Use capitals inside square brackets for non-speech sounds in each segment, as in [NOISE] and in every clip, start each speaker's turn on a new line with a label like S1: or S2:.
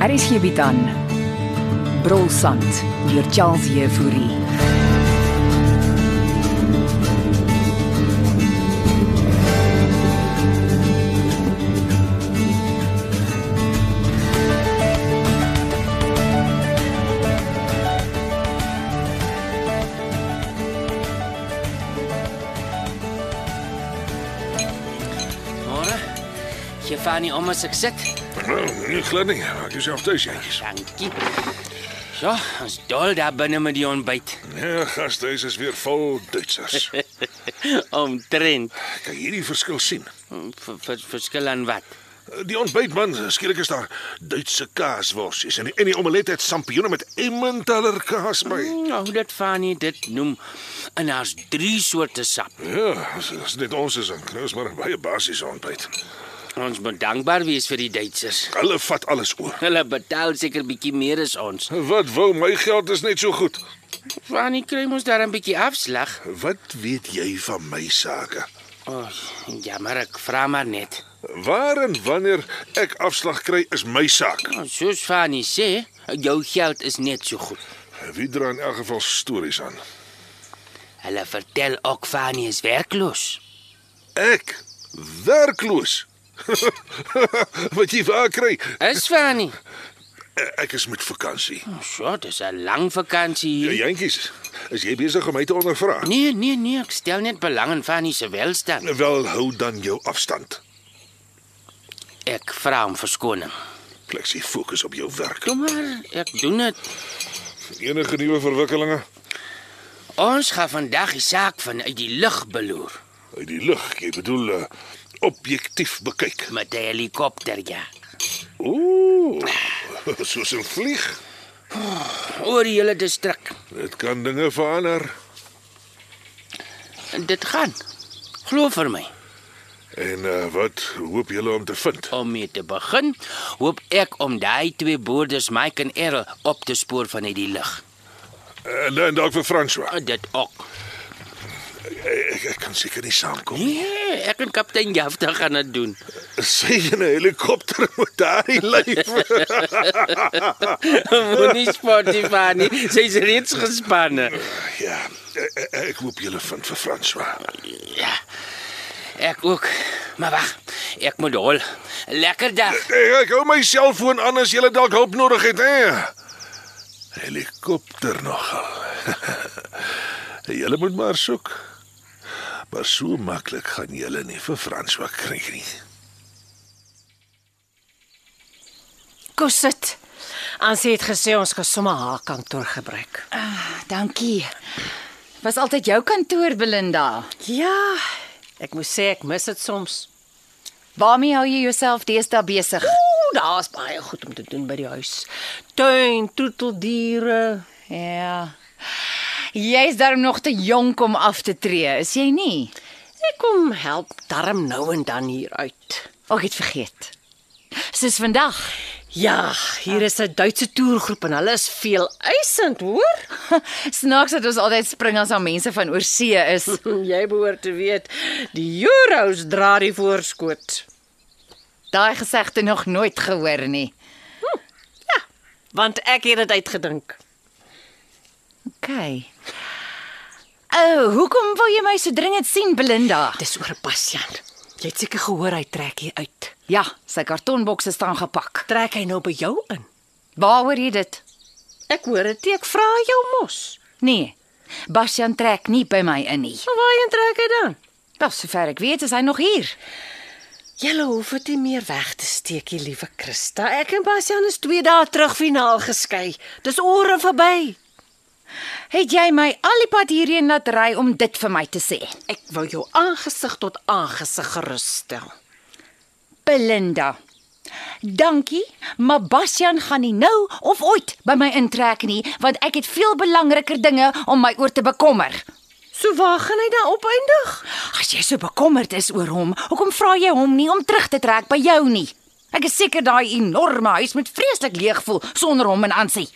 S1: Hier is hierby dan. Brolsand deur Charles Jefouri.
S2: Môre. Jy van nie almal se sit.
S3: Nou, nie glad nie. Maak jouself tuis, jentjies.
S2: Dankie. Ja, ons dol daar binne met die ontbyt.
S3: Ja, gastehuis is weer vol Duitsers.
S2: Omtrent
S3: Kan jy hierdie verskil sien?
S2: Hmm,
S3: Eh,
S2: v- v- verskil aan wat?
S3: Die ontbytman, skielik is daar Duitse kaasworsies en die, en die omelet het sampioene met Emmentaler kaas by.
S2: Nou, hoe dit van nie dit noem. En daar's drie soorte sap.
S3: Ja, as, as dit ons is aan knous maar 'n baie basiese ontbyt.
S2: Ons moet dankbaar wees vir die Duitsers.
S3: Hulle vat alles oor.
S2: Hulle betaal seker bietjie meer as ons.
S3: Wat wil my geld is net so goed.
S2: Van nie kry ons daar 'n bietjie afslag.
S3: Wat weet jy van my sake?
S2: O, oh, jammer, ek vra maar net.
S3: Waar en wanneer ek afslag kry is my saak.
S2: Nou, Soos van nie sê, jou geld is net so goed.
S3: Wie dra in elk geval stories aan?
S2: Hulle vertel ook van nie is werkloos.
S3: Ek werkloos. [LAUGHS] Wat jy waar kry?
S2: Is van nie.
S3: Ek is met vakansie.
S2: So, dis 'n lang vakansie hier. Ja,
S3: Jentjies, is jy besig om my te ondervra?
S2: Nee, nee, nee, ek stel net belang in Fanny se welstand.
S3: Wel, hou dan jou afstand.
S2: Ek vra om verskoning.
S3: Plexie fokus op jou werk.
S2: Kom maar, ek doen dit.
S3: Enige nuwe verwikkelinge
S2: Ons gaan vandag die saak van uit die lug beloer
S3: uit die lug, jy bedoel uh, objektief bekyk.
S2: met 'n helikopter ja.
S3: Ooh, [LAUGHS] soos 'n vlieg.
S2: Oor die hele distrik.
S3: Dit kan dinge verander.
S2: En Dit gaan. Glo vir my.
S3: En uh, wat hoop julle om te vind?
S2: Om mee te begin, hoop ek om daai twee boerders Mike en Errol op te spoor van uit die lug.
S3: Eh, nee, En dan dalk vir François. Eh,
S2: En Dit ook.
S3: Ek, ek kan seker nie saamkom.
S2: Nee, ek en kaptein Jafta gaan dit doen. [LAUGHS]
S3: Sy in 'n helikopter met daai lyf.
S2: Moenie Spotify nie. Sy's reeds gespanne.
S3: [LAUGHS] Ja, e- e- ek hoop julle vind vir François.
S2: Ja. Ek ook. Maar wag, ek moet hol. Lekker dag.
S3: Ek, ek hou my selfoon aan as julle dalk hulp nodig het, hè. Helikopter nogal. [LAUGHS] julle moet maar soek. Maar so maklik gaan julle nie vir François kry nie.
S4: Kom sit. Ansie het gesê ons gaan sommer haar kantoor gebruik.
S5: Dankie. Was altyd jou kantoor Belinda.
S4: Ja, ek moet sê ek mis dit soms.
S5: Waarmee hou jy jouself deesdae besig?
S4: Ooh, daar's baie goed om te doen by die huis. Tuin, troeteldiere.
S5: Ja. Jy's darm nog te jonk om af te tree, is jy nie?
S4: Ek kom help darm nou en dan hier uit.
S5: Ek het vergeet. Soos vandag. [LAUGHS]
S4: Ja, hier is 'n Duitse toergroep en hulle is veel eisend, hoor? [LAUGHS]
S5: Snaaks dat ons altyd spring as daar mense van oorsee is.
S4: Jy behoort te weet, die euros dra die voorskot.
S5: Daai gesegde nog nooit gehoor nie.
S4: Want ek het dit uitgedink.
S5: OK. O, oh, hoekom wil jy my so dringend sien, Belinda?
S4: Dis oor Bastian. Jy het seker gehoor hy trek hier uit.
S5: Ja, sy kartonbokse staan gepak.
S4: Trek hy nou by jou in?
S5: Waaroor jy dit?
S4: Ek hoor dit, ek vra jou mos.
S5: Nee. Bastian trek nie by my in nie.
S4: Maar waarheen trek hy dan?
S5: Wel, sover ek weet, is hy nog hier.
S4: Julle hoef dit nie meer weg te steek, die liewe Christa. Ek en Bastian is 2 dae terug finaal geskei. Dis ore verby.
S5: Het jy my al die pad hierheen laat ry om dit vir my te sê?
S4: Ek wou jou aangesig tot aangesig gerusstel.
S5: Belinda. Dankie, maar Bastian gaan nie nou of ooit by my intrek nie, want ek het veel belangriker dinge om my oor te bekommer.
S4: So waar gaan hy dan opeindig?
S5: As jy so bekommerd is oor hom, hoekom vra jy hom nie om terug te trek by jou nie? Ek is seker daai enorme huis moet vreeslik leeg voel sonder hom en Ansie.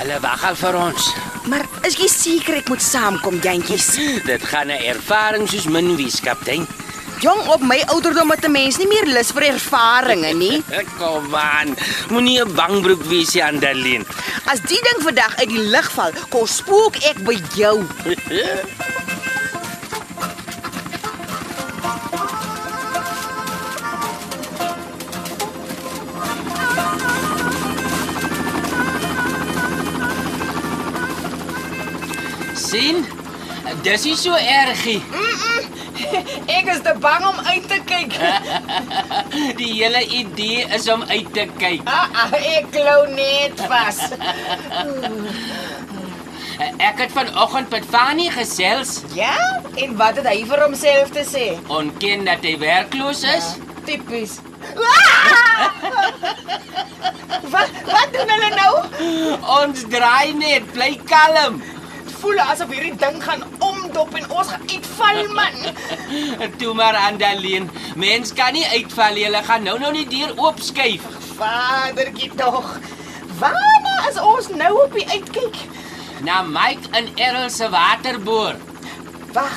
S2: Hulle wag al vir ons.
S6: Maar is jy seker ek moet saamkom, jantjies?
S2: Dit gaan 'n ervaring soos min wies, kaptein.
S6: Jong op my ouderdom het 'n mens nie meer lus vir ervarings nie.
S2: Kom aan. Moenie 'n bangbroek wees, Jandelin.
S6: As die ding vandag uit die lug val, kom spook ek by jou.
S2: sien? Dis nie so ergie.
S5: Ek is te bang om uit te kyk.
S2: Die hele idee is om uit te kyk.
S5: Ah, ek klou net vas.
S2: Ek het vanoggend met Fanny gesels,
S5: Ja? En wat het hy vir homself te sê?
S2: onken dat hy werkloos is.
S5: Tipies. wat wat doen hulle nou?
S2: Ons draai net, bly kalm.
S5: Voel asof hierdie ding gaan omdop en ons gaan uitval man.
S2: Toe maar Andalien, mens kan nie uitval, jy gaan nou nou nie deur oopskuif.
S5: Vadertjie tog. Waarna is ons nou op die uitkyk?
S2: Na Mike en Errol se waterboor.
S5: Wag.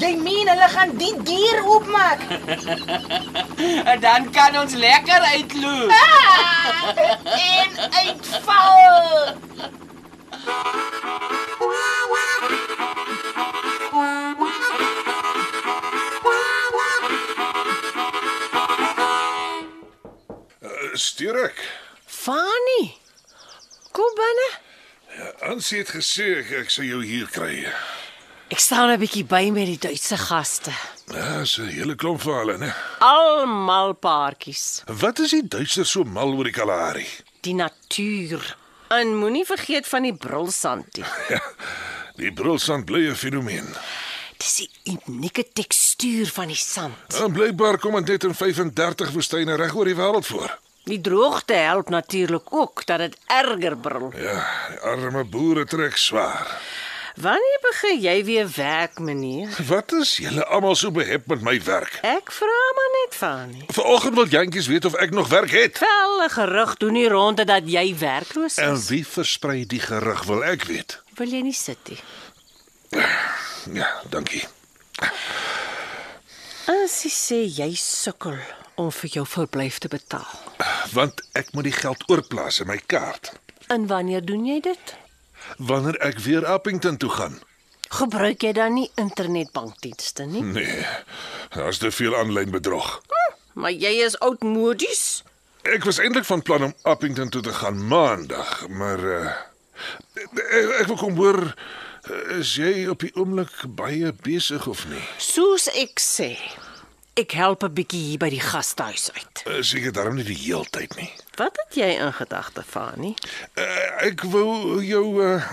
S5: Jy meen hulle gaan die deur oopmaak?
S2: En dan kan ons lekker uitloop.
S5: Ah, [LAUGHS] en uitval.
S3: Eh, Stuur ek.
S4: Fani. Kom binne.
S3: Ansie het gesê ek, ek sou jou hier kry.
S4: Ek staan 'n bietjie by met die Duitse gaste.
S3: Ja, dis 'n hele klomp vir hulle, né?
S4: Almal paartjies.
S3: Wat is die Duitsers so mal oor die Kalahari?
S4: Die natuur. En moenie vergeet van die brulsand nie.
S3: Die brulsand bly 'n fenomeen.
S4: Dis die unieke tekstuur van die sand.
S3: En blykbaar Ja, kom dit net in 35 woestyne reg oor die wêreld voor.
S4: Die droogte help natuurlik ook dat dit erger brul.
S3: Ja, die arme boere trek swaar.
S4: Wanneer begin jy weer werk, meneer?
S3: Wat is julle almal so behep met my werk?
S4: Ek vra maar net van nie.
S3: Vanoggend wil jantjies weet of ek nog werk het.
S4: Wel, 'n gerug doen nie rond dat jy werkloos
S3: En
S4: is.
S3: wie versprei die gerug wil ek weet.
S4: Wil jy nie sit nie?
S3: Ja, dankie.
S4: As jy sê jy sukkel om vir jou verblyf te betaal.
S3: Want ek moet die geld oorplaas in my kaart
S4: En wanneer doen jy dit?
S3: wanneer ek weer Appington toe gaan.
S4: Gebruik jy dan nie internetbankdienste nie?
S3: Nee. Daar's te veel aanlyn bedrog.
S4: Maar jy is oudmodies.
S3: Ek was eintlik van plan om Appington toe te gaan maandag, maar uh, ek, ek wil kom hoor eh, is jy op die oomblik baie besig of nie?
S4: Soos ek sê, ek help 'n bietjie hier by die gastehuis uit.
S3: Eh, Seker daarom nie die heeltyd nie.
S4: Wat het jy in gedagte, Fani?
S3: Uh, ek wou jou [CLEARS THROAT] uh,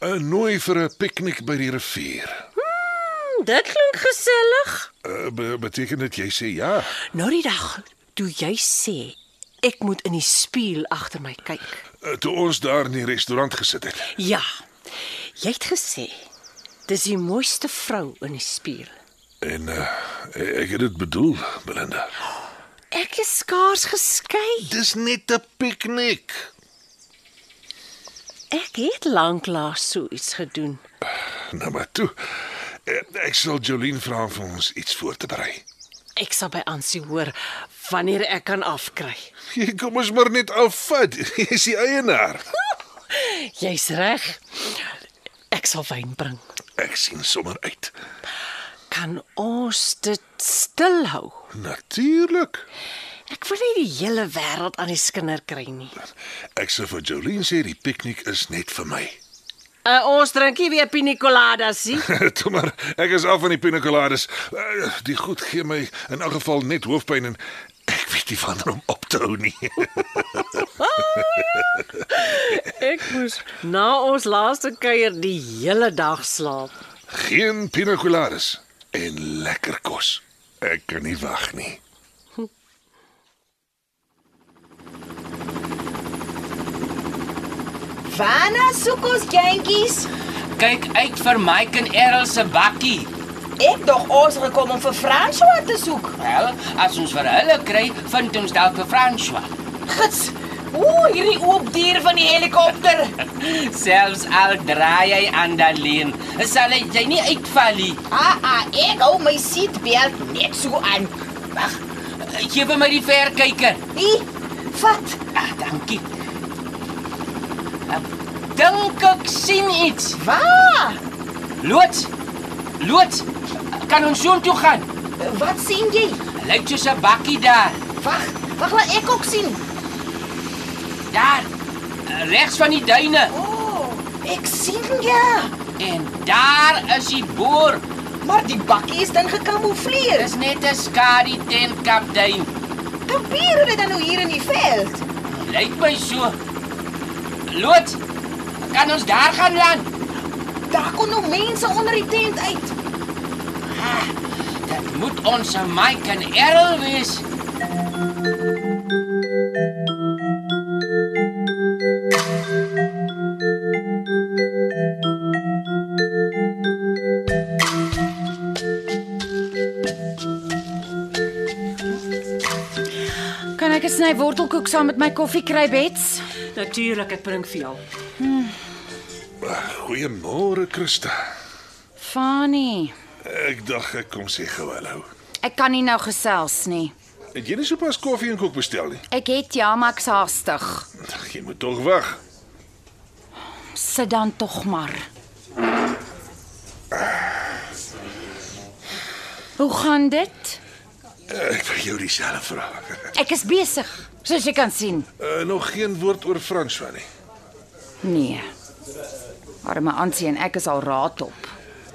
S3: uh, nooi vir 'n piknik by die rivier.
S4: Hm, dit klink gesellig.
S3: Uh, be beteken dit jy sê ja?
S4: Nou die dag toe jy sê ek moet in die spieël agter my kyk.
S3: Uh, toe ons daar in die restaurant gesit het.
S4: Ja. Jy het gesê dis die mooiste vrou in die spieël.
S3: En uh, ek het dit bedoel, Belinda.
S4: Ek is skaars geskei.
S3: Dis net 'n piknik.
S4: Ek het lanklaas so iets gedoen.
S3: Nou maar toe. Eh, Ek sal Jolien vra om vir ons iets voor te berei.
S4: Ek sal by Ansie hoor wanneer ek kan afkry.
S3: Jy kom ons maar net afvat. Jy's die eienaar.
S4: Jy's reg. Ek sal wyn bring.
S3: Ek sien sommer uit.
S4: Kan ons dit stilhou?
S3: Natuurlik.
S4: Ek wil nie die hele wêreld aan die skinder kry nie.
S3: Ek sê vir Jolien sê die piknik is net vir my. [LAUGHS]
S4: Uh, ons drinkie weer pina colada, sien? [LAUGHS]
S3: Toe maar, ek is af van die pina coladas. Eh, Die goed gee my in elk geval net hoofpyn en ek weet nie [LAUGHS] van hom op te hou nie.
S7: Ek moes na ons laaste kuier die hele dag slaap.
S3: Geen pina coladas en lekker kos. Ek kan nie wag nie.
S4: Waarna soek ons jentjies?
S2: Kyk uit vir Mike en Errol se bakkie.
S4: Ek dog ons het gekom om vir François te soek.
S2: Wel, as ons vir hulle kry, vind ons dalk vir François.
S4: Gits. Ooh, hierdie oop dier van die helikopter.
S2: Selfs al draai hy aan Daleen, sal hy jy nie uitval nie.
S4: Ah, ah, ek hou my seatbelt net so aan.
S2: Wag. Gee vir my die verkyker.
S4: Hier, vat.
S2: Ah, dankie. Ek Dink ek sien iets.
S4: Waar?
S2: Loods. Loods. Kan ons soontoe gaan?
S4: Wat sien jy?
S2: Lyk soos 'n bakkie daar.
S4: Wag, wag laat ek ook sien.
S2: Daar. Regs van die duine.
S4: O, oh, ek sien ja,
S2: En daar is die boer.
S4: maar die bakkie is dan gekamoufleer.
S2: Dis net 'n skadu tent kaptein.
S4: Kampeer hulle dan nou hier in die veld?
S2: Lyk my so. Loods. Kan ons daar gaan land?
S4: Daar kom nou mense onder die tent uit.
S2: Dit moet ons se Mike en Errol wees.
S5: Kan ek 'n sny wortelkoek saam met my koffie kry, Bets?
S7: Natuurlik, ek bring vir jou.
S3: Goeiemôre, Christa.
S5: Fanie,
S3: Ek dink ek kom sê gou hallo.
S5: ek kan nie nou gesels nie.
S3: Het jy nie sopas koffie en koek bestel nie?
S5: Ek het ja, maar ek's haastig.
S3: Ag, Jy moet tog wag.
S5: Sit dan tog maar. Hoe gaan dit?
S3: Ek vir jou dieselfde [LAUGHS] vraag.
S5: Ek is besig, soos jy kan sien.
S3: Uh, nog geen woord oor François nie.
S5: Nee. Arme Ansie en ek is al raad op.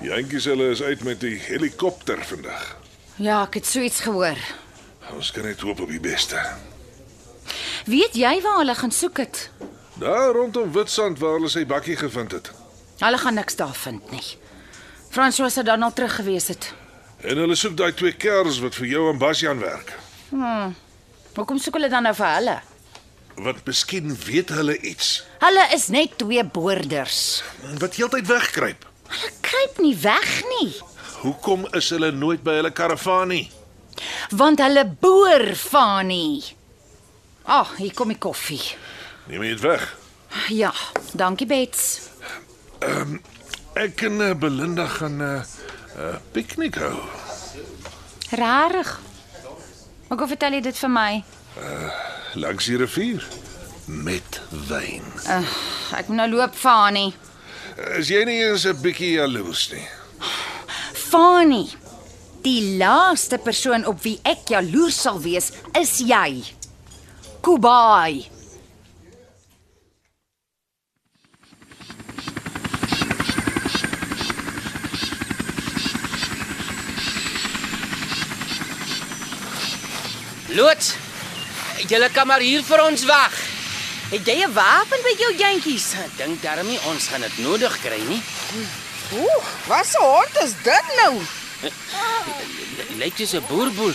S3: Jantjies hulle is uit met die helikopter vandag.
S5: Ja, ek het so iets gehoor.
S3: Ons kan net hoop op die beste.
S5: Weet jy waar hulle gaan soek het?
S3: Daar rondom Witstrand waar hulle sy bakkie gevind het.
S5: Hulle gaan niks daar vind nie. François sou dan al terug gewees het.
S3: En hulle soek daai twee kerels wat vir jou en Basjan werk.
S5: Hoekom soek hulle dan nou vir hulle?
S3: Want miskien weet hulle iets.
S5: Hulle is net twee boorders.
S3: Wat heeltyd wegkruip.
S5: Hulle kruip nie weg nie,
S3: Hoekom is hulle nooit by hulle karavaan nie?
S5: want hulle boer van nie. Ag, oh, hier kom die koffie.
S3: Neem dit weg.
S5: Ja, dankie Bets.
S3: Ek en eh, Belinda gaan 'n uh, uh, piknik hou.
S5: Rarig. Maar kom vertel jy dit vir my.
S3: langs die rivier met wyn.
S5: Ek moet nou loop, Fani.
S3: Is jy nie eens 'n bietjie jaloers nie?
S5: Fani. Die laaste persoon op wie ek jaloers sal wees, is jy. Kubai.
S2: Loods. Julle kan maar hier vir ons wag.
S4: Het jy 'n wapen by jou jentjies?
S2: Dink daarmee ons gaan dit nodig kry nie.
S4: Ooh, wat so hard is dit nou?
S2: L- Lyk soos 'n boerboel.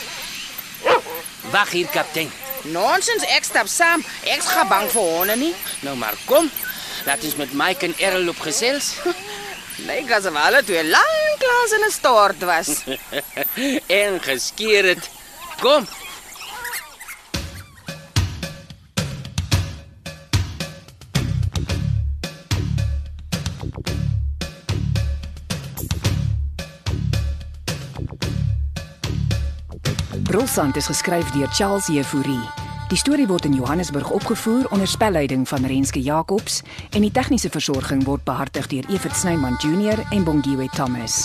S2: Wag hier kaptein.
S4: Nonsens, ek stap saam. Ek's gaan bang vir honde nie.
S2: Nou maar kom. Laat ons met Mike en Errol op gesels.
S4: Lyk asof hulle twee lang klaas in 'n stort was.
S2: en geskeer dit. Kom.
S8: Brolsand is geskryf deur Charles Jefouri. Die storie word in Johannesburg opgevoer onder spelleiding van Renske Jacobs en die tegniese versorging word behartig deur Evert Snyman Junior en Bongwe Thomas.